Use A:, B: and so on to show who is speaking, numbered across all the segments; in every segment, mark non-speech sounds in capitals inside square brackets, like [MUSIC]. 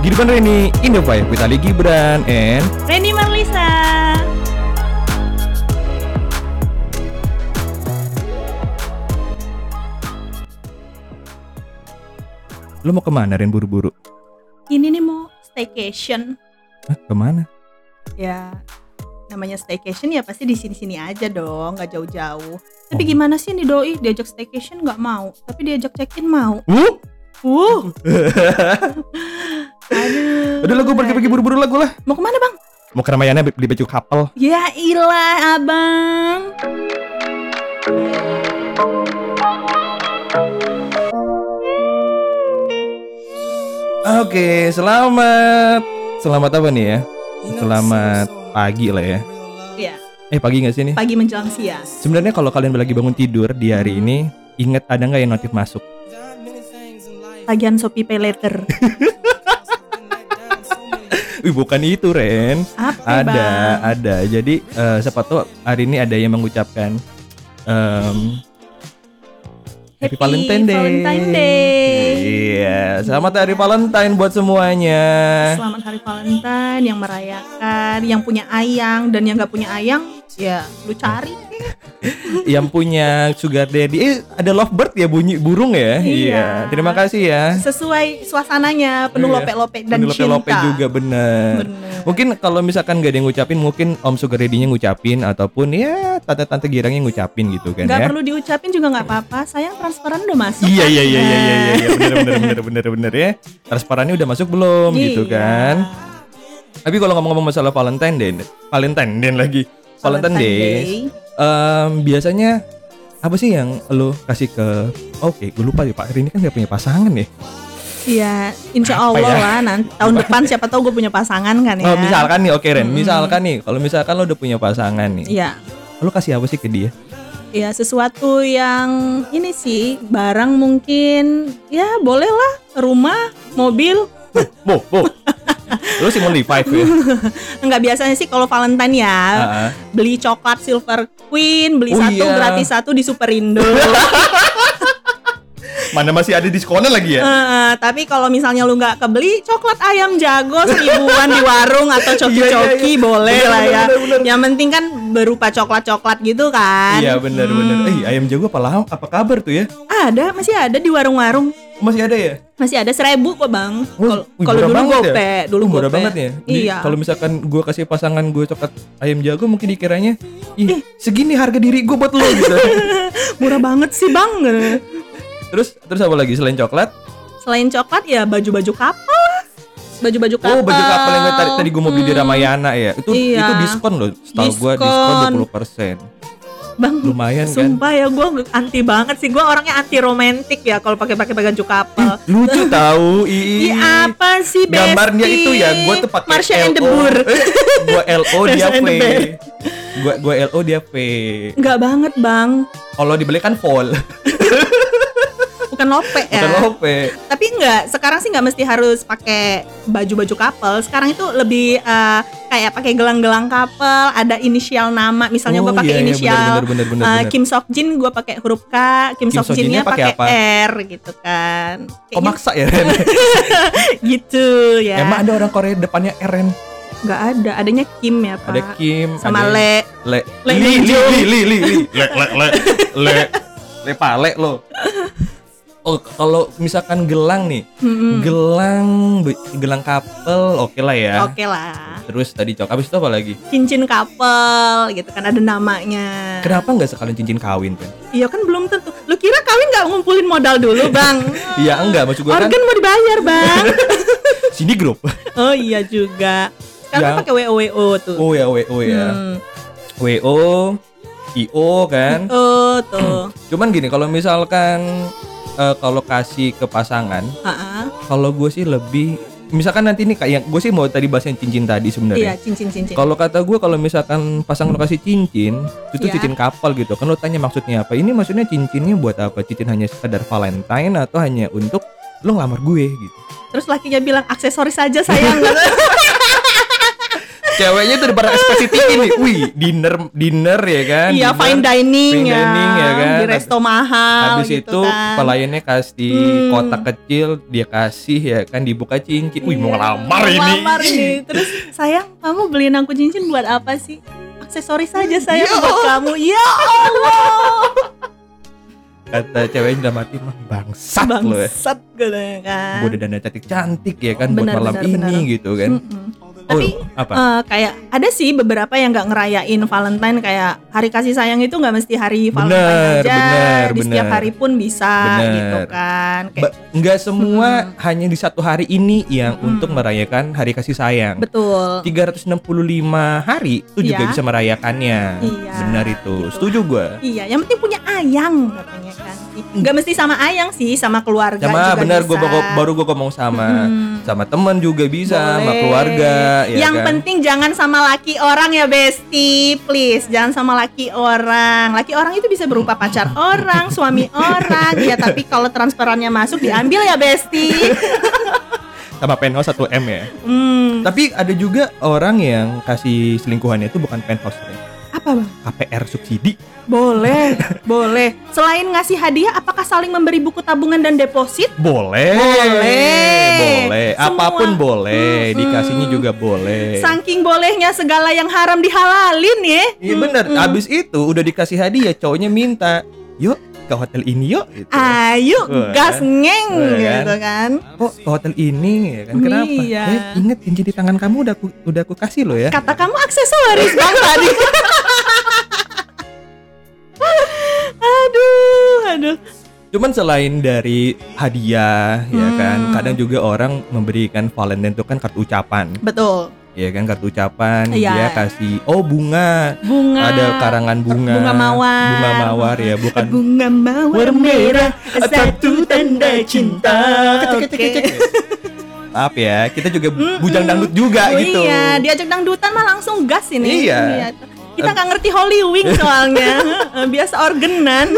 A: Girvan Gitu kan, Reni, ya? Indovibe with Ali Gibran, and
B: Reni Marlisa.
A: Lu mau kemana Ren buru-buru?
B: Ini nih mau staycation.
A: Hah, kemana?
B: Ya namanya staycation ya pasti di sini-sini aja dong, nggak jauh-jauh. Tapi gimana sih nih doi diajak staycation nggak mau, tapi diajak check-in mau.
A: Wuh!
B: Uh. [LAUGHS] Aduh.
A: Udah lah gue pergi-pergi buru-buru lah gue lah
B: Mau kemana bang?
A: Mau ke Ramayana beli baju couple
B: Ya ilah abang.
A: Oke, selamat Selamat apa
B: Iya,
A: nih ya? Selamat pagi lah ya
B: Ya
A: Eh pagi gak sih ini?
B: pagi menjelang siang.
A: Sebenarnya kalau kalian lagi bangun tidur di hari ini Ingat ada nggak yang notif masuk?
B: Pagian Shopee Pay Later.
A: Wih bukan itu Ren
B: Apa
A: Ada,
B: bang?
A: ada. Jadi eh, siapa tahu hari ini ada yang mengucapkan em, Happy,
B: Happy
A: Valentine Day.
B: Valentine Day.
A: Iya, selamat Hari Valentine buat semuanya.
B: Selamat Hari Valentine yang merayakan, yang punya ayang dan yang nggak punya ayang, ya lu cari.
A: yang punya sugar daddy, eh ada lovebird ya bunyi burung ya.
B: Iya.
A: Terima kasih ya.
B: Sesuai suasananya, penuh
A: Iya.
B: lope-lope dan
A: Penuh lope-lope
B: cinta.
A: juga bener.
B: Bener.
A: Mungkin kalau misalkan gak ada yang ngucapin, mungkin Om Sugar Daddy-nya ngucapin ataupun ya tante-tante girang yang ngucapin gitu kan
B: Nggak
A: ya.
B: perlu diucapin juga nggak apa-apa. Sayang transparan udah masuk.
A: Iya
B: kan?
A: iya iya iya iya
B: Nah.
A: iya bener bener bener bener bener ya transparannya udah masuk belum gitu
B: Iya.
A: kan tapi kalau ngomong-ngomong masalah Valentine Day Valentine Day lagi Valentine, Day, em, biasanya apa sih yang lo kasih ke oke gue lupa ya Pak Rini kan gak punya pasangan ya
B: Iya, insya
A: Apa
B: Allah
A: ya?
B: lah. Nanti tahun depan siapa tahu gue punya pasangan kan ya.
A: oh, misalkan nih oke Ren misalkan nih kalau misalkan lo udah punya pasangan nih
B: Hmm. Iya.
A: lo kasih apa sih ke dia
B: Ya sesuatu yang ini sih barang mungkin ya boleh lah rumah mobil
A: bo bo [LAUGHS] lo sih mau Levi's
B: [LAUGHS]
A: ya
B: nggak biasanya sih kalau Valentine ya
A: Ah, ah.
B: beli coklat Silver Queen beli
A: Oh
B: satu
A: iya.
B: gratis satu di
A: [LAUGHS]
B: Superindo
A: mana masih ada diskonan lagi ya
B: Eh, tapi kalau misalnya lu nggak kebeli coklat ayam jago seribuan di warung
A: [LAUGHS] Iya,
B: atau
A: iya,
B: coki-coki
A: iya.
B: boleh
A: Bener,
B: lah
A: bener,
B: ya
A: bener, bener.
B: yang penting kan berupa coklat-coklat gitu kan
A: Iya benar benar. Eh ayam jago apa lah? Apa kabar tuh ya?
B: ada masih ada di warung-warung
A: Masih ada ya?
B: masih ada seribu kok bang
A: Wah,
B: Kalau-
A: wih,
B: kalau
A: murah
B: dulu
A: banget ya?
B: gope dulu
A: Wih, murah
B: gope.
A: banget ya. Ini
B: iya
A: Kalau misalkan gue kasih pasangan gue coklat ayam jago mungkin dikiranya, ih segini harga diri gue buat lo gitu.
B: [LAUGHS] murah banget sih bang
A: terus terus apa lagi selain coklat?
B: selain coklat ya baju-baju kapal lah. baju-baju
A: Oh
B: kapal
A: baju kapal yang tadi tadi gue mau beli di Ramayana ya. Itu
B: Hmm. Iya.
A: itu diskon loh. Setahu gue diskon
B: Diskon.
A: 20
B: [LAUGHS]
A: persen.
B: bang
A: Lumayan kan?
B: Sumpah ya gue anti banget sih gue orangnya anti romantik ya kalau pakai-pakai baju kapal.
A: Lucu tahu. Ih.
B: Iya apa sih besti?
A: gambarnya itu ya gue tuh pakai
B: Marsha and the
A: LO. [LAUGHS]
B: Boor.
A: Eh, gue
B: [LAUGHS]
A: LO dia V
B: Marsha and the Bear.
A: gue gue LO dia V
B: Enggak banget bang,
A: kalau dibeli kan vol
B: bukan lope ya.
A: bukan lope
B: Tapi enggak, sekarang sih nggak mesti harus pakai baju-baju couple. Sekarang itu lebih eh, kayak pakai gelang-gelang couple, ada inisial nama. Misalnya
A: Oh,
B: gue pakai
A: iya, iya,
B: inisial
A: bener, bener, bener,
B: eh,
A: bener.
B: Kim Sok Jin, gue pakai huruf K. Kim,
A: Kim Sok
B: Sok
A: Jinnya
B: Jinnya
A: pakai
B: pakai
A: apa?
B: R gitu kan.
A: kok
B: Kayaknya
A: maksa ya Ren
B: gitu ya.
A: emang ada orang Korea depannya Ren
B: Nggak ada, adanya Kim ya pak.
A: ada Kim
B: Sama
A: ada-
B: Le.
A: le li
B: Le
A: li
B: Minjung.
A: li li li li le le le le le pale lo Oh, k- kalau misalkan gelang nih,
B: Mm-mm.
A: gelang be- gelang couple oke lah ya.
B: Oke Nah. lah.
A: Terus tadi cok, habis itu apa lagi?
B: cincin couple gitu kan ada namanya.
A: Kenapa nggak sekalian cincin kawin, Ren?
B: Iya kan belum tentu. Lu kira kawin nggak ngumpulin modal
A: [LAUGHS]
B: dulu, Bang?
A: Iya enggak maksud gue kan
B: Organ mau dibayar,
A: [LAUGHS]
B: Bang.
A: sini grup. [LAUGHS]
B: oh iya juga.
A: Ya.
B: Sekarang kan pakai WOWO tuh.
A: Oh ya WO ya.
B: Hmm.
A: WO IO kan.
B: Oh tuh.
A: Cuman gini kalau misalkan eh, kalau kasih ke pasangan,
B: Ha-ha.
A: kalau gue sih lebih misalkan nanti nih kayak gue sih mau tadi bahas yang cincin tadi
B: Iya,
A: sebenarnya.
B: cincin-cincin.
A: Kalau kata gue kalau misalkan pasangan lo kasih cincin, itu
B: Iya.
A: cincin kapal gitu. Kan lo tanya maksudnya apa? Ini maksudnya cincinnya buat apa? Cincin hanya sekedar Valentine atau hanya untuk lo ngelamar gue gitu. [LAUGHS] Kan
B: Terus lakinya bilang aksesoris aja sayang.
A: ceweknya itu udah pada ekspresi tinggi nih. Wih, dinner dinner ya kan.
B: Iya,
A: dinner.
B: fine dining,
A: Fine
B: ya,
A: dining, ya kan?
B: di resto mahal
A: Habis
B: gitu
A: itu
B: kan.
A: pelayannya kasih
B: Hmm.
A: kotak kecil, dia kasih ya kan dibuka cincin. Wih, mau
B: Iya,
A: ngelamar
B: mau
A: ini.
B: ngelamar ini. Terus sayang, kamu beliin aku cincin buat apa sih? Aksesoris saja saya
A: Ya
B: buat kamu. Ya Allah.
A: Kata ceweknya udah mati mah bangsat, lo ya.
B: Bangsat gitu kan.
A: Gue udah dana cantik-cantik ya kan buat
B: Benar,
A: malam
B: benar,
A: ini
B: benar.
A: gitu kan.
B: Mm-mm.
A: Oh,
B: Tapi
A: apa?
B: eh, kayak ada sih beberapa yang nggak ngerayain Valentine kayak hari kasih sayang itu nggak mesti hari Valentine
A: Bener,
B: aja.
A: bener,
B: di setiap
A: bener.
B: hari pun bisa
A: Bener.
B: gitu kan. Kayak Hmm.
A: Ba- nggak semua hanya di satu hari ini yang untuk merayakan hari kasih sayang.
B: betul.
A: 365 hari itu juga
B: Iya.
A: bisa merayakannya.
B: Iya,
A: Benar itu.
B: gitu.
A: Setuju gua.
B: Iya, yang penting punya ayang katanya kan. Gak mesti sama ayang sih, sama keluarga
A: Sama
B: juga
A: benar
B: bisa.
A: gua baru- baru gua ngomong sama
B: Mm-mm.
A: sama teman juga bisa, sama
B: Boleh.
A: keluarga ya
B: Yang
A: kan?
B: penting jangan sama laki orang ya, Besti. Please, jangan sama laki orang. Laki orang itu bisa berupa pacar orang, suami orang. Ya, tapi kalau transferannya masuk diambil ya, Besti.
A: sama penthouse 1M ya.
B: Hmm,
A: Tapi ada juga orang yang kasih selingkuhannya itu bukan penthouse ya.
B: apa, Bang?
A: KPR subsidi.
B: Boleh, boleh. Selain ngasih hadiah, apakah saling memberi buku tabungan dan deposit?
A: Boleh.
B: Boleh.
A: Boleh. Apapun
B: Semua. Hmm.
A: boleh,
B: Mm-mm.
A: dikasihnya juga boleh.
B: Saking bolehnya segala yang haram dihalalin ya.
A: Iya bener, abis itu udah dikasih hadiah cowoknya minta Yuk ke hotel ini yuk gitu.
B: Ayo
A: Wah.
B: gas ngeng
A: Wah, kan?
B: gitu kan.
A: Kok ke hotel ini ya kan kenapa?
B: Iya.
A: Eh, inget cincin di tangan kamu udah aku, udah aku kasih loh ya
B: Kata kamu aksesoris bang tadi. aduh, aduh.
A: Cuman selain dari hadiah ya kan
B: Hmm.
A: Kadang juga orang memberikan Valentine itu kan kartu ucapan
B: Betul.
A: Ya kan kartu ucapan
B: Iya.
A: dia kasih oh bunga
B: Bunga.
A: Ada karangan bunga
B: Bunga mawar.
A: Bunga mawar ya bukan
B: Bunga mawar
A: Warna merah,
B: merah satu tanda cinta.
A: Cek, cek, cek, cek.
B: Oke.
A: Maaf ya kita juga
B: Mm-mm.
A: bujang dangdut juga
B: Oh
A: gitu
B: Iya, diajak dangdutan mah langsung gas ini.
A: Iya.
B: Kita nggak ngerti Holy Wing
A: [LAUGHS]
B: soalnya. Biasa organan.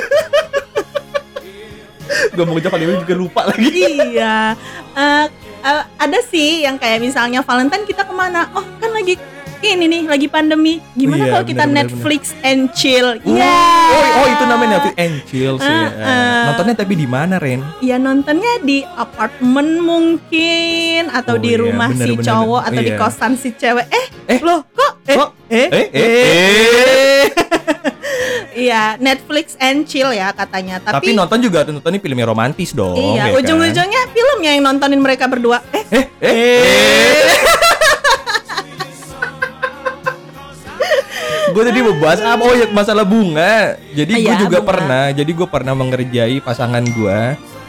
A: Gue mau ucapkan ini juga lupa lagi
B: iya Eh, eh, ada sih yang kayak misalnya Valentine kita kemana oh kan lagi ini nih lagi pandemi gimana
A: Iya,
B: kalau kita
A: benar, benar,
B: Netflix and chill
A: Uh,
B: Iya.
A: Oh, oh, itu namanya Netflix and Chill sih.
B: Ah,
A: Eh,
B: ah.
A: Nontonnya tapi di mana, Ren?
B: ya nontonnya di apartemen mungkin atau
A: Oh,
B: di
A: iya,
B: rumah
A: benar,
B: si
A: benar,
B: cowok
A: benar.
B: atau di
A: Iya.
B: kosan si cewek eh
A: Eh,
B: loh kok eh
A: kok?
B: eh
A: Eh, eh, eh.
B: iya Netflix and chill ya katanya
A: Tapi,
B: tapi,
A: nonton juga nontonnya filmnya romantis dong.
B: iya
A: ya kan?
B: ujung-ujungnya filmnya yang nontonin mereka berdua eh
A: Eh, eh, eh. gue tadi mau bahas apa? Oh ya masalah bunga. Jadi gue
B: Iya,
A: juga
B: bunga.
A: pernah. Jadi gue pernah mengerjai pasangan gue.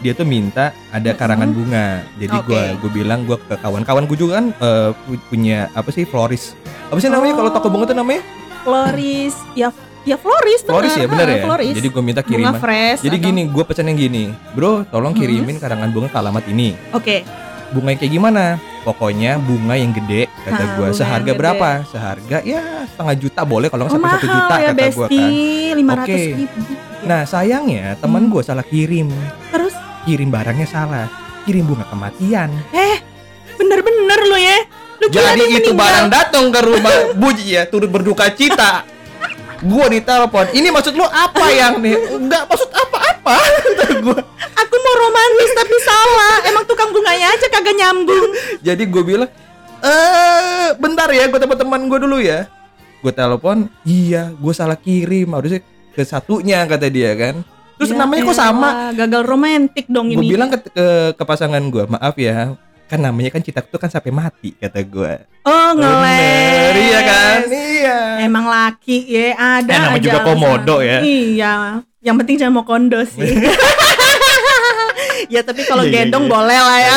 A: Dia tuh minta ada karangan bunga. Jadi gue
B: Mm-hmm. Oke.
A: gue bilang gue ke kawan-kawan gue juga kan eh, pu- punya apa sih floris. Apa sih namanya kalau toko bunga tuh namanya?
B: Floris ya ya Floris bener,
A: Floris ya bener
B: ha,
A: ya.
B: Floris.
A: Jadi gue minta
B: bunga
A: kiriman.
B: fresh
A: Jadi
B: atau- Mm-hmm.
A: gini, gue pesan yang gini, bro, tolong kirimin karangan bunga ke alamat ini.
B: Oke,
A: Bunga yang kayak gimana? Pokoknya bunga yang gede, kata
B: Ah,
A: gue.
B: bunga yang
A: Seharga
B: gede.
A: berapa? Seharga ya setengah juta boleh, kalau nggak
B: oh,
A: sampai satu
B: mahal
A: juta
B: ya
A: kata gue
B: Besti,
A: kan.
B: lima
A: Oke.
B: ratus ribu.
A: Nah sayangnya teman
B: Hmm.
A: gue salah kirim,
B: Terus,
A: kirim barangnya salah, kirim bunga kematian.
B: eh, bener-bener lo ya, lu kira dia
A: Jadi itu
B: meninggal?
A: barang datang ke rumah Buji ya turut berduka cita. Gua ditelepon. Ini maksud lu apa yang nih? Enggak maksud apa-apa. [LAUGHS] Kata gua.
B: Aku mau romantis tapi salah, emang tukang bunganya aja kagak nyambung.
A: Jadi gue bilang, eh bentar ya, gue telepon teman gue dulu ya. Gue telepon, iya, gue salah kirim, harusnya ke satunya kata dia kan. Terus
B: Ya
A: namanya kok
B: elah,
A: sama?
B: Gagal romantis dong
A: Gue
B: ini.
A: bilang ke, ke, ke pasangan gue, maaf ya, kan namanya kan cinta itu kan sampai mati kata gue.
B: oh
A: Bener,
B: ngeles.
A: iya kan? Iya.
B: Emang laki ya ada.
A: Eh, namanya
B: aja
A: juga
B: alasan.
A: komodo ya.
B: Iya, yang penting jangan mau kondo
A: [LAUGHS]
B: sih. ya tapi kalau
A: Iya, iya,
B: gendong
A: iya.
B: boleh lah ya.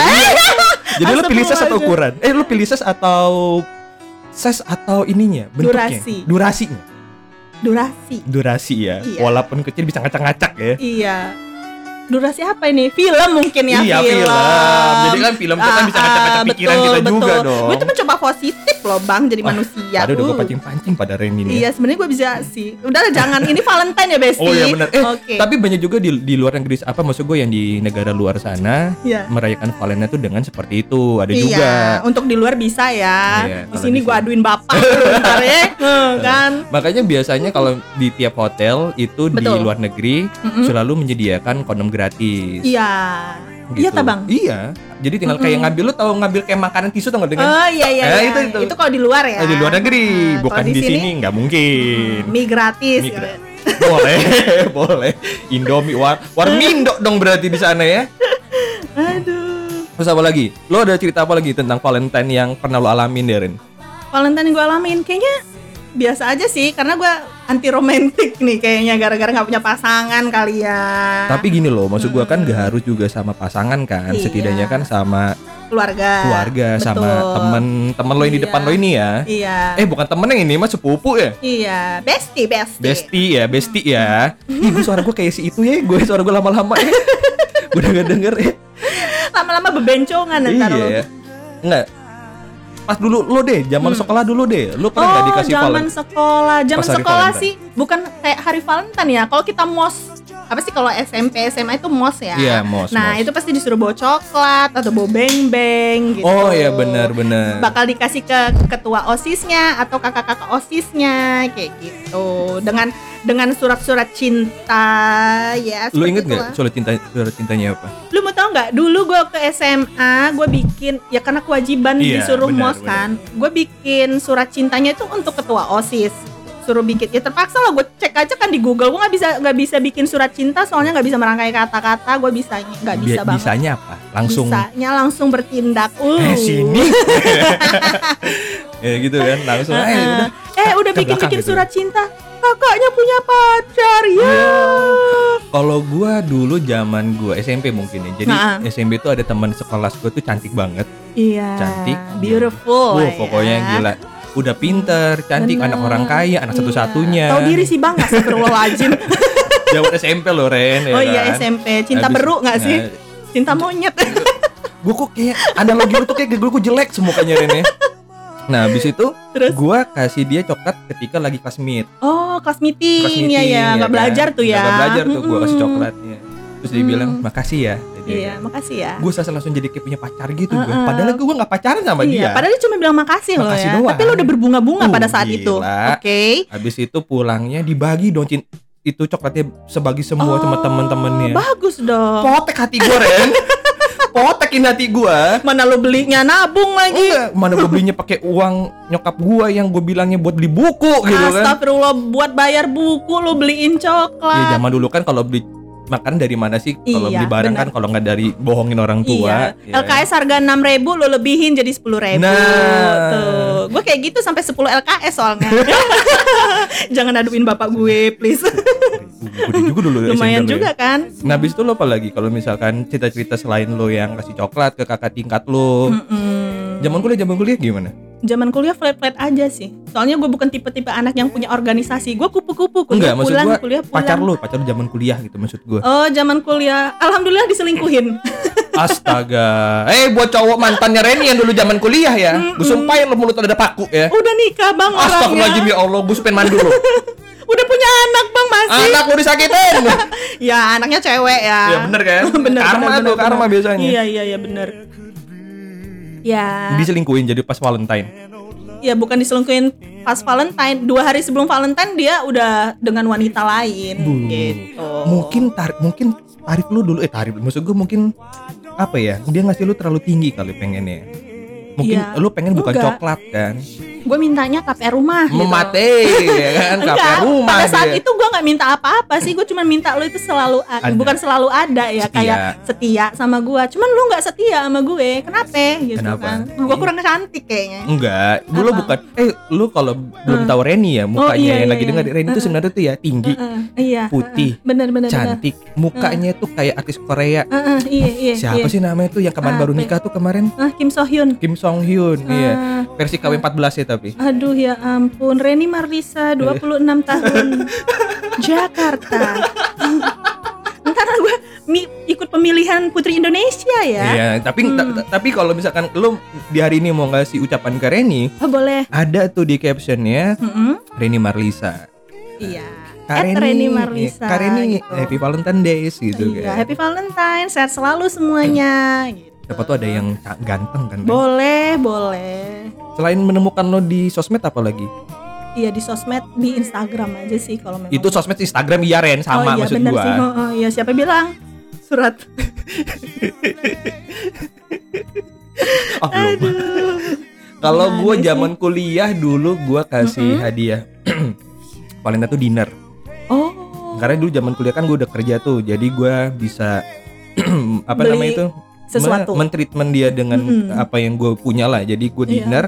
A: Jadi lu pilih size atau
B: Astagfirullahaladzim.
A: ukuran? Eh lu pilih size atau size atau ininya bentuknya
B: Durasi.
A: durasinya
B: Durasi.
A: durasi ya
B: Iya.
A: walaupun kecil bisa ngacak-ngacak ya
B: Iya. durasi apa ini? Film Ah, mungkin ya
A: Iya, film. Jadi kan film kita bisa ngaca-ngaca pikiran kita juga dong.
B: Gue tuh mencoba positif loh bang jadi manusia.
A: Aduh, udah gue
B: Uh.
A: pancing-pancing pada Reni nih.
B: Iya sebenarnya gue bisa sih. Udah lah, jangan ini Valentine ya Besti.
A: Oh iya benar. Eh,
B: Oke.
A: tapi banyak juga di, di luar negeri apa maksud gue yang di negara luar sana
B: Iya.
A: merayakan Valentine tuh dengan seperti itu. Ada juga.
B: Iya, untuk di luar bisa ya.
A: Iya,
B: di
A: kalau
B: sini
A: di
B: gue
A: sini.
B: aduin bapak
A: [LAUGHS]
B: bentar ya, Eh, kan?
A: Makanya biasanya kalau di tiap hotel itu di
B: Betul.
A: luar negeri
B: Mm-mm.
A: selalu menyediakan kondom gratis.
B: Iya. Iya
A: gitu.
B: tak bang?
A: Iya. Jadi tinggal kayak ngambil lu tahu ngambil kayak makanan tisu tau nggak dengan
B: Oh iya iya.
A: Eh,
B: iya.
A: itu- itu.
B: kalau di luar ya.
A: Eh, di luar negeri,
B: Nah,
A: bukan
B: kalau
A: di sini nggak mungkin.
B: Mie gratis.
A: Mie gratis. boleh, [LAUGHS] boleh. Indomie war
B: [LAUGHS]
A: warmindo dong berarti di sana ya.
B: Aduh.
A: Terus apa lagi? Lo ada cerita apa lagi tentang Valentine yang pernah lo alamin, Darren?
B: Valentine gue alamin kayaknya biasa aja sih karena gue anti romantik nih kayaknya gara-gara nggak punya pasangan kali ya.
A: Tapi gini loh, maksud gua kan gak harus juga sama pasangan kan,
B: Hmm. Iya.
A: setidaknya kan sama
B: keluarga.
A: keluarga, sama
B: Betul.
A: temen temen lo yang di
B: Iya.
A: depan lo ini ya.
B: Iya.
A: Eh bukan temen yang ini mah sepupu ya.
B: Iya. Besti besti.
A: Besti ya, besti ya. Ih, gua suara gua kayak si itu ya, gue suara gua lama-lama ya. [LAUGHS] Gua udah gak denger ya.
B: Lama-lama bebencongan ntar lo.
A: Iya. Enggak. Pas dulu lo deh, zaman sekolah dulu deh. Lo pernah nggak
B: Hmm. Oh,
A: dikasih
B: zaman
A: Valen?
B: sekolah, zaman
A: Pas hari
B: sekolah
A: Valentine.
B: sih bukan kayak hari Valentine ya. Kalau kita mos, apa sih kalau SMP, SMA itu mos ya?
A: Iya, mos,
B: Nah,
A: mos.
B: itu pasti disuruh bawa coklat atau bawa beng-beng gitu.
A: Oh iya benar benar.
B: Bakal dikasih ke ketua OSISnya atau kakak-kakak OSISnya kayak gitu. Dengan dengan surat-surat cinta ya.
A: Lo
B: seperti
A: inget
B: itulah.
A: nggak soal cinta surat cintanya apa?
B: Lu mau tau nggak? Dulu gue ke SMA, gue bikin ya karena kewajiban
A: Iya,
B: disuruh
A: benar,
B: mos kan. Gue bikin surat cintanya itu untuk ketua osis. Suruh bikin ya terpaksa lah gue cek aja kan di Google gue nggak bisa nggak bisa bikin surat cinta soalnya nggak bisa merangkai kata-kata gue bisa nggak bisa
A: Bi-
B: banget
A: bisanya apa? Langsung
B: bisanya langsung bertindak uh
A: eh [LAUGHS] sini. ya gitu kan, langsung
B: Heeh.
A: eh udah.
B: eh udah
A: Ke
B: bikin
A: belakang
B: bikin
A: gitu.
B: surat cinta kakaknya punya pacar ya
A: Kalau gua dulu zaman gua SMP mungkin ya. Jadi
B: Nah.
A: SMP tuh ada teman sekelas gua tuh cantik banget.
B: iya
A: Cantik.
B: beautiful
A: Wah,
B: ya.
A: pokoknya gila. Udah pinter, cantik,
B: Benar.
A: anak orang kaya, anak
B: Iya.
A: satu-satunya.
B: Tahu
A: [LAUGHS]
B: diri sih Bang, astagfirullahaladzim.
A: Zaman SMP loh Ren ya
B: oh iya
A: kan?
B: SMP, cinta
A: Habis-
B: beru nggak sih?
A: Nah,
B: Cinta monyet.
A: [LAUGHS] gue kok kayak analogi lu tuh kayak gue kok jelek semua kayaknya Ren ya. Nah habis itu
B: Terus?
A: gue kasih dia coklat ketika lagi kelas meet
B: oh, kelas
A: Kelas
B: meeting, ya ya,
A: meeting,
B: nggak
A: kan?
B: belajar tuh ya.
A: Nggak belajar tuh gue kasih
B: Mm-mm.
A: coklatnya Terus dia bilang
B: Mm.
A: makasih ya
B: Iya, makasih ya.
A: Gue sasa langsung jadi kayak punya pacar gitu gua.
B: Uh-uh.
A: Padahal gue gak pacaran sama dia
B: Iya, padahal dia cuma bilang makasih, loh
A: Makasih
B: ya.
A: doang.
B: Tapi lo udah berbunga-bunga
A: Uh,
B: pada saat
A: gila.
B: itu. Oke.
A: Habis itu pulangnya dibagi dong cin- itu coklatnya sebagi semua sama
B: Oh,
A: temen-temennya
B: Bagus dong.
A: Potek hati gue
B: [LAUGHS]
A: Ren Potekin hati gue
B: Mana lo belinya nabung lagi.
A: Enggak, mana gue belinya pakai uang nyokap gua yang gue bilangnya buat beli buku gitu kan.
B: Astagfirullah buat bayar buku lo beliin
A: Ya
B: coklat.
A: zaman dulu kan kalau beli makan dari mana sih? Kalau
B: Iya,
A: beli barang
B: benar.
A: kan kalau nggak dari bohongin orang tua.
B: Iya.
A: ya.
B: LKS harga 6.000 ribu lo lebihin jadi 10.000 ribu.
A: Nah.
B: Tuh, gue kayak gitu sampai 10 LKS soalnya. [LAUGHS] Jangan aduin bapak gue, please.
A: Gede juga dulu ya,
B: Lumayan
A: sendal ya.
B: juga kan?
A: Nah, habis itu lo apa lagi kalau misalkan cerita-cerita selain lo yang kasih coklat ke kakak tingkat lo?
B: Mm-mm.
A: Zaman kuliah, zaman kuliah gimana?
B: Zaman kuliah flat-flat aja sih. Soalnya gue bukan tipe-tipe anak yang punya organisasi. Gue kupu-kupu, kuliah
A: Enggak, maksud
B: pulang,
A: gua
B: kuliah pulang.
A: Pacar lo, pacar lo zaman kuliah gitu maksud gue.
B: Oh, zaman kuliah. Alhamdulillah diselingkuhin.
A: [LAUGHS]
B: [LAUGHS]
A: Astaga. Eh, buat cowok mantannya Reni yang dulu zaman kuliah ya. Gue sumpahin lo mulut ada paku ya.
B: Udah nikah bang
A: Astagfirullahaladzim
B: orangnya.
A: ya Allah, gue sumpahin mandul
B: [LAUGHS]
A: lo.
B: Udah punya anak bang masih.
A: Anak udah sakitin.
B: [LAUGHS] Ya anaknya cewek ya.
A: Iya, bener kan?
B: [LAUGHS] bener,
A: Karma
B: bener,
A: tuh,
B: bener,
A: karma
B: bener.
A: biasanya.
B: Iya iya iya bener. Ya.
A: Diselingkuhin jadi pas Valentine.
B: ya bukan diselingkuhin pas Valentine. Dua hari sebelum Valentine dia udah dengan wanita lain gitu.
A: Mungkin tarik mungkin tarif lu dulu eh tarif maksud gue mungkin apa ya? Dia ngasih lu terlalu tinggi kali pengennya. Mungkin
B: Iya.
A: lu pengen bukan
B: Enggak. Gitu.
A: coklat kan?
B: [LAUGHS] Gue mintanya KPR rumah. gitu.
A: Mematei ya kan kafe
B: Enggak,
A: rumah
B: pada saat
A: dia.
B: itu gue nggak minta apa-apa sih, gue cuma minta lo itu selalu a-
A: Ada.
B: bukan selalu ada ya,
A: Setia.
B: kayak setia sama gue. Cuman lu nggak setia sama gue, kenapa? Gitu
A: Kenapa?
B: kan? Gue kurang cantik kayaknya.
A: Enggak, dulu
B: Apa? Hmm.
A: bukan. Eh, lu kalau belum tahu Reni ya mukanya
B: iya,
A: yang
B: iya,
A: lagi
B: iya.
A: dengar Reni itu sebenarnya tuh ya tinggi,
B: Heeh, iya.
A: putih,
B: heeh. Bener bener bener.
A: cantik, mukanya tuh kayak artis Korea.
B: Heeh, iya Hmm. iya.
A: Siapa
B: iya.
A: sih namanya tuh yang kemarin baru
B: Apa?
A: nikah tuh kemarin?
B: Ah, Kim So Hyun.
A: Kim Song Hyun, iya.
B: Ah.
A: Versi KW14 ya tapi.
B: Aduh ya ampun, Reni
A: Iya.
B: Marlisa
A: [LAUGHS]
B: 26 tahun Jakarta. Ntar gue mi- ikut pemilihan Putri Indonesia ya.
A: Iya, tapi ta- ta- tapi kalau misalkan lu di hari ini mau ngasih ucapan ke Reni,
B: Oh, boleh.
A: ada tuh di captionnya
B: Mm-mm.
A: Reni Marlisa.
B: Iya.
A: Kak
B: At Reni Marlisa.
A: Kak Reni,
B: gitu.
A: Happy Valentine Days gitu
B: Iya,
A: kan.
B: Happy Valentine, sehat selalu semuanya. Gitu.
A: Siapa tuh ada yang ca- ganteng kan. Ren?
B: Boleh, boleh.
A: Selain menemukan lo di sosmed apa lagi?
B: Iya di sosmed, di Instagram aja sih kalau memang.
A: Itu sosmed Instagram iya Ren
B: oh,
A: sama
B: iya,
A: maksud
B: bener
A: gua.
B: Sih. Oh, oh, iya, siapa bilang? Surat.
A: [LAUGHS] Oh, belum.
B: Aduh.
A: [LAUGHS] Kalau
B: Gimana
A: gua
B: sih?
A: zaman kuliah dulu gua kasih hadiah [CLEARS THROAT] Valentine tuh dinner.
B: Oh.
A: Karena dulu zaman kuliah kan gua udah kerja tuh, jadi gua bisa [CLEARS THROAT] apa
B: Beli
A: namanya itu?
B: sesuatu.
A: Men- mentreatment dia dengan
B: Mm-mm.
A: apa yang gue punya lah. Jadi gue
B: Iya.
A: dinner,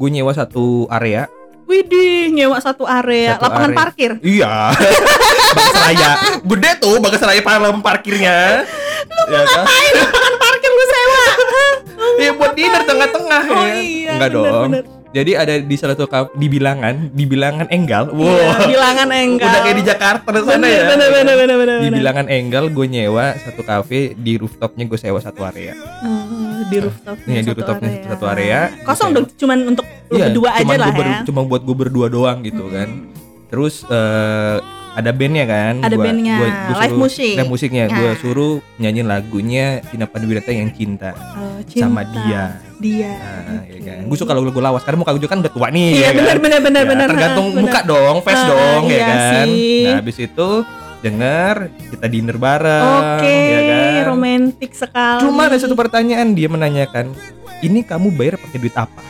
A: gue nyewa satu area.
B: Widih, nyewa satu area,
A: Satu
B: lapangan
A: area.
B: parkir.
A: Iya. [LAUGHS] Bagasraya. Gede tuh Bagasraya palem parkirnya. Lu ya, kan?
B: Ayo lapangan parkir lu sewa.
A: Iya, buat dinner tengah-tengah
B: Oh
A: ya.
B: iya,
A: Enggak
B: bener,
A: dong.
B: bener.
A: Jadi ada di salah satu kaf- di bilangan, di bilangan Enggal. [LAUGHS] Wow.
B: Iya, bilangan enggal.
A: Udah kayak di Jakarta di sana
B: Bener,
A: ya.
B: bener, bener, bener, bener,
A: Di
B: bener.
A: bilangan Enggal gue nyewa satu cafe di rooftopnya gue sewa satu area.
B: Eh, di rooftop.
A: Iya, di rooftopnya satu area. Gitu ya.
B: Kosong dong, cuman untuk lu
A: Iya,
B: berdua aja
A: cuman
B: lah
A: gua ber-
B: ya.
A: Cuma buat gue berdua doang gitu kan. Terus eh, ada bandnya kan?
B: Ada bandnya, live
A: suruh-
B: music.
A: Live musiknya, gue
B: Nah.
A: suruh nyanyiin lagunya Cina Panduwirata yang cinta,
B: Oh,
A: sama
B: cinta.
A: dia.
B: Dia.
A: Nah, ya
B: oke.
A: kan. Gue suka lagu-lagu lawas karena muka gue kan udah tua nih.
B: Iya,
A: ya kan?
B: benar benar benar
A: Ya,
B: benar.
A: Tergantung
B: benar.
A: muka dong, face
B: Ah,
A: dong, ya
B: iya
A: kan.
B: sih.
A: Nah, habis itu denger kita dinner bareng,
B: Oke,
A: ya kan.
B: romantis sekali.
A: Cuma ada
B: [LAUGHS]
A: satu pertanyaan dia menanyakan, ini kamu bayar pakai duit
B: [LAUGHS]
A: apa?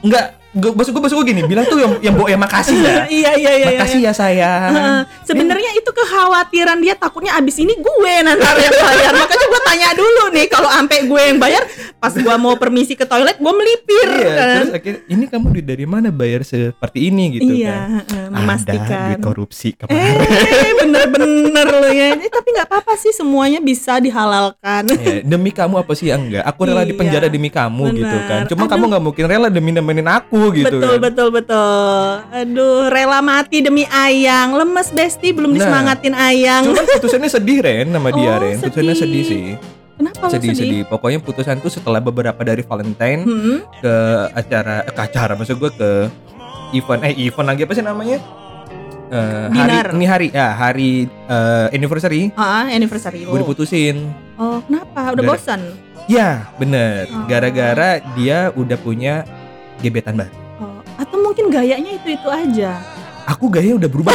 A: Enggak, gue maksud gue maksud gue gini, bilang tuh yang yang bawa yang makasih ya.
B: Iya iya iya. iya.
A: makasih ya sayang.
B: Heeh. Sebenarnya itu kekhawatiran dia takutnya abis ini gue nanti yang bayar. Makanya gue tanya dulu nih kalau ampe gue yang bayar, pas gue mau permisi ke toilet gue melipir
A: Iya,
B: kan.
A: terus akhirnya ini kamu duit dari mana bayar seperti ini gitu
B: iya,
A: kan?
B: heeh,
A: Ada
B: memastikan.
A: duit korupsi kemarin.
B: Eh, bener-bener lo ya. Eh, tapi nggak apa-apa sih, semuanya bisa dihalalkan.
A: Ya, demi kamu apa sih "Ya, enggak? Aku rela
B: Iya,
A: dipenjara demi kamu gitu
B: benar.
A: kan. Cuma kamu nggak mungkin rela demi nemenin aku gitu
B: betul
A: kan.
B: betul betul aduh rela mati demi ayang lemes besti belum
A: Nah.
B: disemangatin ayang
A: Cuman putusannya sedih Ren sama dia
B: Oh,
A: Ren. Putusannya
B: sedih.
A: sedih sih.
B: kenapa lo
A: Sedih,
B: sedih,
A: sedih. Pokoknya putusan tuh setelah beberapa dari Valentine
B: Hmm?
A: ke acara eh, ke acara maksud gue ke event eh event lagi apa sih namanya Eh, hari
B: Dinner.
A: ini hari ya hari eh, anniversary
B: ah anniversary
A: gue
B: oh.
A: diputusin
B: oh kenapa udah
A: Gara-
B: bosan
A: ya bener
B: Oh.
A: gara-gara dia udah punya gebetan baru
B: oh. atau mungkin gayanya itu itu aja
A: aku gaya udah
B: [LAUGHS]
A: berubah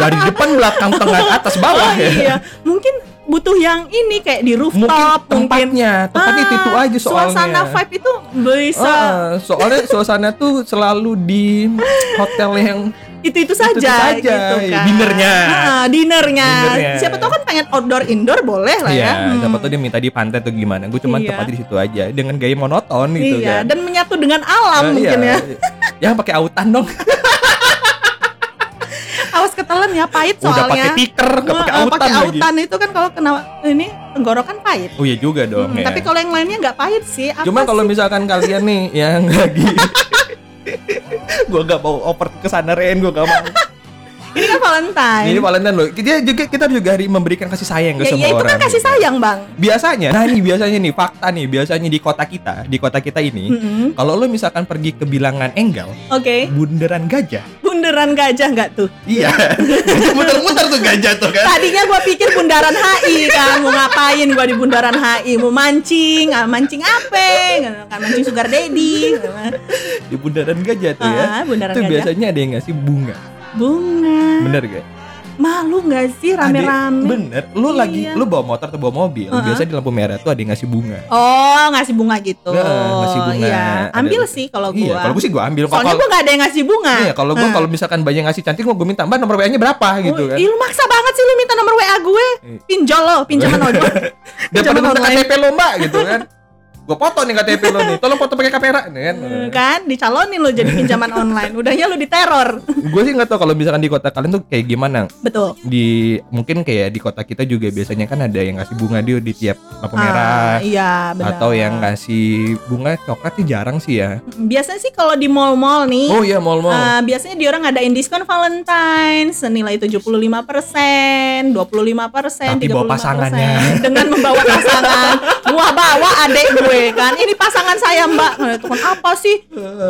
A: dari depan belakang tengah atas
B: oh
A: bawah ya
B: iya mungkin butuh yang ini kayak di
A: mungkin
B: rooftop mungkin, Ah,
A: tempatnya tempat itu itu aja soalnya
B: suasana vibe itu bisa
A: Ah, soalnya suasana tuh selalu di hotel yang
B: itu itu saja
A: saja,
B: gitu
A: iya,
B: kan
A: dinnernya.
B: Ah, dinnernya.
A: Dinnernya.
B: siapa tahu kan pengen outdoor indoor boleh lah
A: Iya,
B: ya Hmm.
A: siapa tuh dia minta di pantai atau gimana? Gue cuman
B: Iya.
A: tepatnya di situ aja dengan gaya monoton gitu
B: iya
A: kan.
B: dan menyatu dengan alam
A: Eh,
B: mungkin
A: iya.
B: ya
A: Yang pakai autan dong.
B: awas ketelan ya pahit soalnya
A: Udah pakai tiker, nggak pakai
B: Heeh,
A: autan,
B: pakai
A: lagi.
B: autan itu kan kalau kena ini tenggorokan pahit
A: Oh iya juga dong
B: Hmm,
A: ya.
B: tapi kalau yang lainnya nggak pahit sih apa
A: Cuma kalau
B: sih?
A: misalkan kalian nih yang [LAUGHS] lagi gue gak mau oper ke sana Ren, gue gak mau.
B: ini kan Valentine
A: Ini Valentine loh. Kita juga kita juga hari memberikan kasih sayang ke
B: ya,
A: semua
B: ya itu
A: orang.
B: kan kasih
A: gitu.
B: sayang bang
A: Biasanya, nah ini biasanya nih fakta nih, biasanya di kota kita, di kota kita ini,
B: Mm-mm. Eh?
A: kalau lo misalkan pergi ke bilangan Enggal,
B: oke
A: bundaran gajah.
B: bundaran gajah nggak
A: [LAUGHS]
B: tuh [LAUGHS]
A: Iya, gajah muter-muter tuh gajah tuh kan.
B: tadinya gua pikir bundaran HI kan mau ngapain gua di bundaran HI mau mancing ah, mancing apa kan mancing sugar
A: [LAUGHS]
B: daddy
A: di bundaran gajah tuh ya.
B: Ah, bundaran
A: itu
B: gajah.
A: biasanya ada yang ngasih bunga.
B: bunga
A: Bener gak?
B: malu nggak sih
A: Ada-
B: rame-rame
A: Bener. Lu
B: Iya.
A: lagi lu bawa motor atau bawa mobil,
B: Uh-uh.
A: biasanya di lampu merah tuh ada yang ngasih bunga.
B: Oh, ngasih bunga gitu.
A: Nah, ngasih bunga.
B: Iya, ambil
A: Ada-
B: sih kalau gua.
A: Iya, kalau gue sih gua ambil
B: Soalnya
A: kalau
B: gua gak ada yang ngasih bunga.
A: Iya, kalau gua
B: Nah.
A: kalau misalkan banyak ngasih cantik mau gue minta, "Mbak, nomor WA-nya berapa?" gitu
B: Oh,
A: kan.
B: Ih, lu maksa banget sih lu minta nomor WA gue.
A: Iya. [LAUGHS]
B: Pinjol lo, pinjaman ojol.
A: Daripada minta KTP lo, Mbak, gitu kan. Gua gue foto nih KTP lo nih tolong foto pakai kamera nih kan
B: Hmm, kan dicalonin lo jadi
A: [LAUGHS]
B: pinjaman online udahnya lo diteror
A: gue sih nggak tahu kalau misalkan di kota kalian tuh kayak gimana
B: betul
A: di mungkin kayak di kota kita juga biasanya kan ada yang ngasih bunga dia di tiap lampu
B: Ah,
A: merah
B: iya benar
A: atau yang ngasih bunga coklat sih jarang sih ya
B: biasanya sih kalau di mall-mall nih
A: oh iya mall-mall
B: eh, biasanya dia orang ngadain diskon Valentine senilai 75%, 25%,
A: Tapi bawa
B: 35%.
A: pasangannya.
B: [LAUGHS] Dengan membawa pasangan. Wah, bawa adek gue kan. Ini pasangan saya, Mbak. Nah, itu kan apa sih?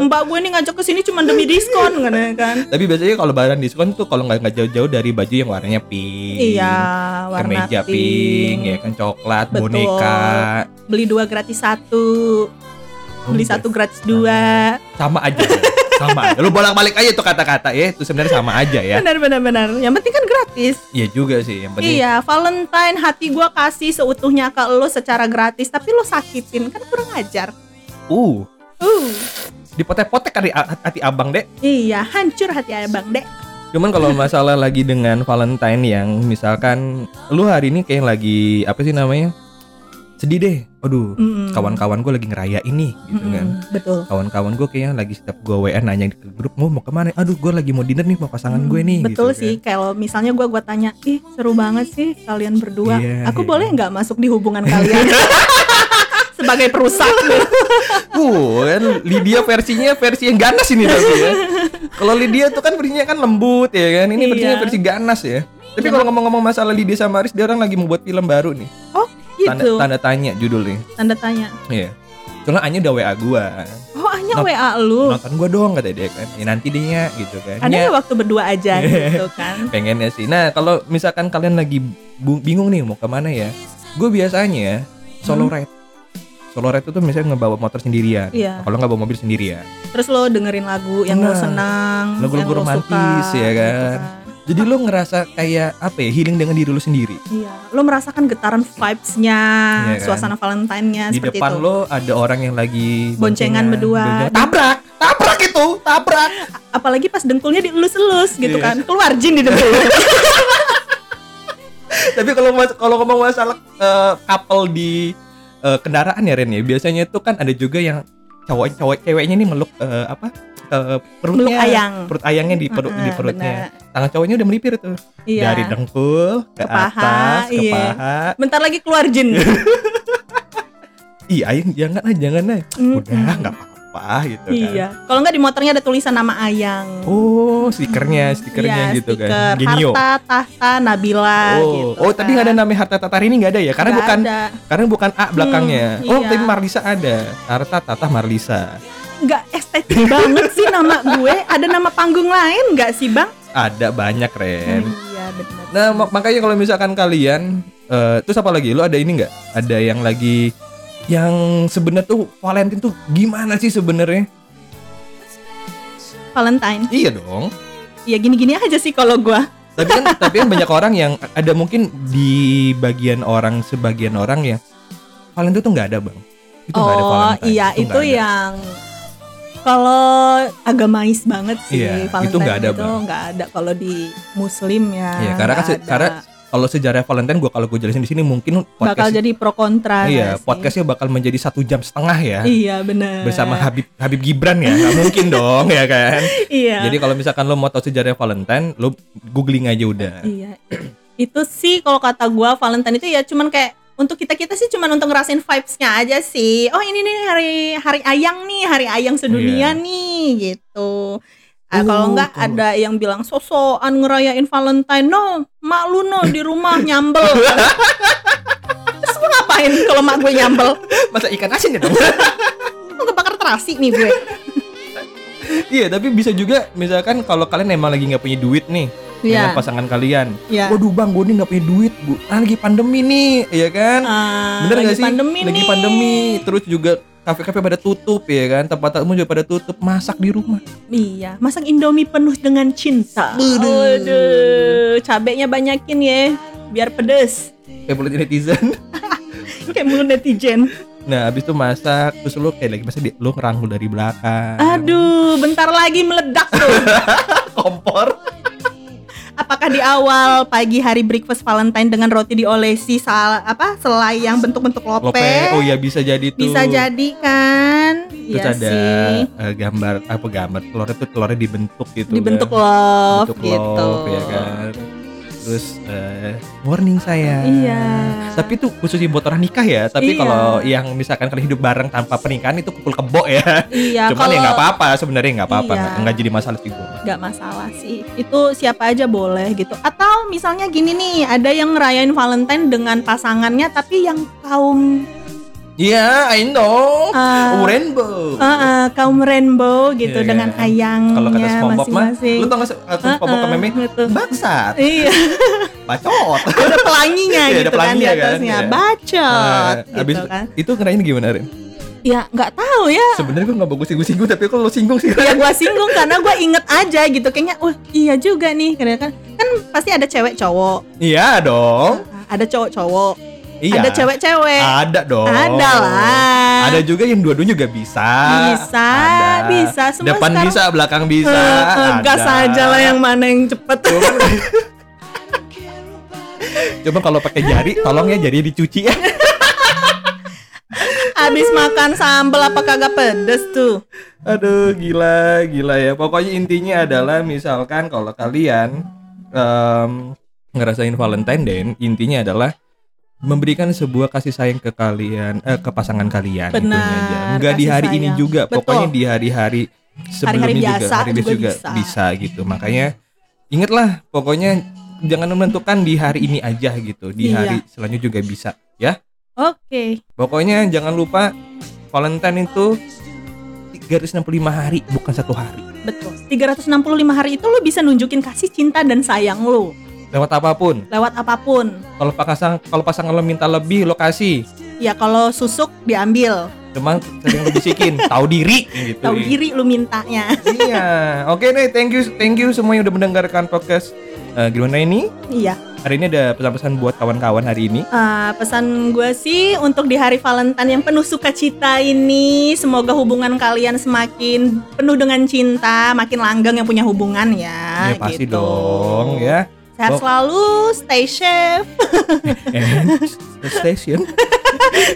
B: Mbak gue ini ngajak ke sini cuma demi diskon kan, kan.
A: tapi biasanya kalau lebaran diskon tuh kalau nggak nggak jauh-jauh dari baju yang warnanya pink
B: Iya, warna
A: kemeja pink. ya kan coklat
B: Betul.
A: boneka
B: Beli dua gratis satu.
A: Oh,
B: Beli satu gratis dua.
A: Gitu. sama aja sama aja. lu bolak-balik aja tuh kata-kata ya itu sebenarnya sama aja ya
B: Benar benar benar. Yang penting kan gratis.
A: iya juga sih yang penting
B: Iya, Valentine hati gua kasih seutuhnya ke lo secara gratis, tapi lo sakitin kan kurang ajar.
A: uh
B: Uh,
A: dipotek-potek kali a- hati abang dek
B: iya hancur hati abang dek.
A: Cuman kalau masalah lagi dengan Valentine yang misalkan lu hari ini kayak lagi apa sih namanya? Sedih deh. Aduh,
B: Mm.
A: kawan-kawan gue lagi ngeraya ini gitu
B: Mm-mm,
A: kan.
B: Betul.
A: Kawan-kawan gue kayaknya lagi setiap gue WN nanya di grup mau mau kemana? Aduh, gue lagi mau dinner nih sama pasangan gue nih.
B: Mm, Betul
A: gitu
B: sih.
A: kan.
B: Kalau misalnya gua gua tanya, ih seru banget sih kalian berdua.
A: Iya, iya.
B: Aku boleh nggak masuk di hubungan
A: [LAUGHS]
B: kalian? Sebagai perusak.
A: Uh, kan Lydia versinya versi yang ganas ini tapi ya. Kalau Lydia tuh kan versinya kan lembut ya kan. Ini versinya
B: Iya.
A: versi ganas ya. Tapi kalau ngomong-ngomong masalah Lydia sama Aris, dia orang lagi membuat film baru nih.
B: oh
A: Tanda,
B: gitu. Tanda,
A: tanda tanya judulnya.
B: tanya.
A: Iya. Soalnya Anya udah WA gua.
B: Oh hanya
A: Nop.
B: WA lu.
A: Nonton gua dong kata dia kan. Ya nanti deh ya gitu kan.
B: Ada
A: Ya,
B: nggak waktu berdua aja
A: [LAUGHS]
B: gitu kan?
A: pengennya sih. Nah, kalau misalkan kalian lagi bu- bingung nih mau kemana ya. Gue biasanya solo
B: Hmm.
A: ride. Solo ride itu tuh misalnya ngebawa motor sendirian.
B: Iya.
A: Kalau nggak bawa mobil sendirian.
B: Terus lo dengerin lagu yang lo
A: Benar.
B: senang, yang
A: Lagu-lagu
B: lo
A: romantis,
B: suka,
A: ya kan?
B: gitu kan.
A: Jadi lo ngerasa kayak apa ya? Healing dengan diri lo sendiri.
B: Iya, lo merasakan getaran vibes-nya,
A: Iya kan?
B: suasana
A: Di
B: Valentine-nya Nah, seperti
A: depan
B: itu.
A: lo ada orang yang lagi
B: Boncengan berdua.
A: Tabrak, tabrak itu, tabrak. [LAUGHS]
B: Apalagi pas dengkulnya dielus-elus gitu
A: Iya.
B: kan, keluar jin di dengkul.
A: [LAUGHS] Tapi kalau mas- kalau ngomong masalah eh, couple di eh, kendaraan ya Ren ya, biasanya itu kan ada juga yang cowok cowok ceweknya nih meluk eh, apa ke perutnya
B: Meluk ayang.
A: perut ayangnya di perut
B: Heeh,
A: di perutnya
B: benar.
A: tangan cowoknya udah melipir tuh
B: Iya.
A: dari dengkul ke,
B: Ke paha,
A: atas ke
B: iya.
A: paha
B: Bentar lagi keluar
A: [LAUGHS]
B: jin.
A: Iya kan? ih ayang jangan ah jangan ah
B: Mm-mm.
A: udah nggak apa-apa gitu kan
B: iya. Kalau nggak di motornya ada tulisan nama Ayang.
A: oh stikernya stikernya
B: Iya,
A: gitu
B: stiker
A: kan genio
B: Harta, Tahta, Nabila
A: oh
B: gitu.
A: oh tapi nggak ada namanya harta tatar ini nggak ada ya karena
B: Nggak
A: bukan
B: ada.
A: Karena bukan A belakangnya.
B: Hmm,
A: Oh,
B: iya.
A: tapi Marlisa ada. Tarta Tata Marlisa.
B: nggak estetik banget sih nama gue. Ada nama panggung lain nggak sih, Bang?
A: Ada banyak, Ren.
B: Iya, benar.
A: Nah, mak- makanya kalau misalkan kalian eh, terus apa lagi? Lu ada ini nggak? Ada yang lagi yang sebenarnya tuh Valentine tuh gimana sih sebenarnya?
B: Valentine.
A: Iya dong.
B: Ya gini-gini aja sih kalau gua.
A: Tapi
B: [LAUGHS]
A: kan tapi kan banyak orang yang ada mungkin di bagian orang sebagian orang yang Valentine tuh nggak ada, Bang. Itu nggak ada
B: oh
A: Valentine.
B: iya itu,
A: nggak ada.
B: yang kalau agamais banget sih
A: Iya, itu
B: Valentine
A: nggak ada,
B: itu
A: Bang.
B: nggak ada kalau di Muslim ya.
A: Iya, karena kan
B: nggak
A: se-
B: ada.
A: karena kalau sejarah Valentine gua kalau gue jelasin di sini mungkin
B: bakal jadi pro kontra.
A: Iya,
B: nggak sih?
A: podcastnya bakal menjadi satu jam setengah ya.
B: Iya benar.
A: Bersama Habib Habib Gibran ya, nggak
B: [LAUGHS]
A: mungkin dong ya kan.
B: Iya.
A: Jadi kalau misalkan lo mau tahu sejarah Valentine, lo googling aja udah.
B: iya. itu sih kalau kata gua Valentine itu ya cuman kayak untuk kita kita sih cuman untuk ngerasain vibes-nya aja sih. Oh ini nih hari hari ayang nih, hari ayang
A: Iya.
B: sedunia nih gitu. Ah,
A: Oh,
B: kalau nggak
A: kalau-
B: ada yang bilang sosokan ngerayain Valentine, no, mak lu no di rumah
A: [LAUGHS]
B: nyambel. Terus gue ngapain kalau mak gue nyambel?
A: [LAUGHS] Masa ikan asin ya dong?
B: [LAUGHS] Mau kebakar terasi nih gue.
A: iya, tapi bisa juga misalkan kalau kalian emang lagi nggak punya duit nih dengan
B: Iya.
A: pasangan kalian.
B: Iya.
A: Waduh bang, gue nih nggak punya duit, bu. Ah, lagi pandemi nih, ya kan?
B: Ah,
A: Bener
B: lagi
A: nggak sih?
B: Pandemi
A: lagi
B: nih.
A: pandemi, terus juga kafe-kafe pada tutup ya kan, tempat tamu juga pada tutup, masak di rumah.
B: Iya, masak Indomie penuh dengan cinta.
A: Waduh.
B: Waduh, cabenya banyakin ya, biar pedes.
A: Kayak mulut netizen. [LAUGHS]
B: Kayak mulut netizen.
A: Nah, habis itu masak, terus lu kayak lagi masak, di- lu ngerangkul dari belakang.
B: Aduh, bentar lagi meledak tuh.
A: kompor.
B: Apa apakah di awal pagi hari breakfast Valentine dengan roti diolesi sal apa selai yang bentuk-bentuk lope,
A: Lope. Oh iya bisa jadi tuh.
B: bisa jadi kan?
A: Terus
B: Iya
A: ada
B: sih.
A: eh, gambar apa gambar telur itu telurnya dibentuk gitu.
B: Dibentuk
A: kan.
B: love
A: Bentuk
B: gitu.
A: love, ya kan. Terus eh, warning saya.
B: Iya.
A: Tapi itu khususnya buat orang nikah ya. Tapi
B: Iya.
A: kalau yang misalkan kalian hidup bareng tanpa pernikahan itu pukul kebo ya.
B: Iya,
A: [LAUGHS] Cuman ya
B: kalau-
A: nggak apa-apa sebenarnya nggak apa-apa
B: Iya.
A: nggak nggak jadi masalah sih gua.
B: nggak masalah sih itu siapa aja boleh gitu atau misalnya gini nih ada yang ngerayain Valentine dengan pasangannya tapi yang kaum
A: Iya, I know.
B: Ah.
A: Oh, Rainbow.
B: eh, eh, kaum rainbow gitu
A: Iya kan?
B: dengan ayangnya
A: Kalau kata SpongeBob mah,
B: iya, masing-masing
A: lu tau gak aku SpongeBob ke
B: Heeh,
A: meme?
B: betul.
A: Bangsat,
B: iya
A: bacot.
B: ada pelanginya
A: Iya, [LAUGHS] ada
B: gitu kan di
A: pelanginya kan,
B: atasnya
A: iya. Nah,
B: bacot gitu
A: abis
B: kan
A: itu ngerain gimana Rin?
B: ya nggak tahu ya
A: Sebenarnya gue gak bagus singgung-singgung tapi kok lo singgung sih
B: ya gue singgung karena gue inget aja gitu kayaknya wah iya juga nih karena kan kan pasti ada cewek cowok
A: Iya dong.
B: ada cowok cowok
A: Iya.
B: ada cewek-cewek
A: Ada dong.
B: Ada lah.
A: Ada juga yang dua-duanya juga bisa.
B: Bisa, bisa. Semua
A: Depan
B: sekarang-
A: bisa, belakang bisa.
B: Eh, eh,
A: Ada. Oh.
B: gas aja lah yang mana yang cepet [LAUGHS]
A: Cuman, Cuman kalau pakai jari, tolong ya jari dicuci ya.
B: Abis makan sambel apa kagak pedes tuh
A: Aduh, gila, gila ya. Pokoknya intinya adalah misalkan kalau kalian em, ngerasain Valentine Day, intinya adalah memberikan sebuah kasih sayang ke kalian, eh, ke pasangan kalian.
B: Benar,
A: intinya aja. Nggak di
B: kasih
A: hari ini
B: sayang.
A: juga,
B: Betul.
A: pokoknya di hari-hari sebelumnya
B: Hari-hari
A: juga,
B: biasa
A: hari biasa
B: juga
A: juga bisa.
B: bisa.
A: gitu. Makanya ingatlah, pokoknya jangan menentukan di hari ini aja gitu, di
B: Iya.
A: hari selanjutnya juga bisa, ya.
B: Oke
A: Pokoknya jangan lupa Valentine itu 365 hari bukan satu hari.
B: betul 365 hari itu lo bisa nunjukin kasih cinta dan sayang lo
A: Lewat apapun.
B: Lewat apapun
A: Kalau pasangan kalau pasangan lo minta lebih lo kasih.
B: Ya kalau susuk diambil
A: Cuman sering lo
B: [LAUGHS]
A: bisikin, tahu diri gitu.
B: Tahu diri lo mintanya [LAUGHS]
A: Iya. Oke deh, thank you thank you semua yang udah mendengarkan podcast Eh, gimana ini?
B: Iya
A: Hari ini ada pesan-pesan buat kawan-kawan hari ini.
B: Eh, Pesan gue sih untuk di hari Valentine yang penuh sukacita ini Semoga hubungan kalian semakin penuh dengan cinta Makin langgeng yang punya hubungan ya
A: ya pasti
B: gitu.
A: dong ya.
B: [LAUGHS]
A: Bok.
B: Sehat selalu, stay safe,
A: And Eh, station.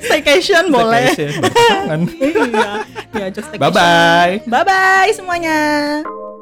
B: staycation boleh.
A: Staycation. Berpasangan.
B: Iya, diajak staycation.
A: Bye-bye.
B: Bye-bye semuanya.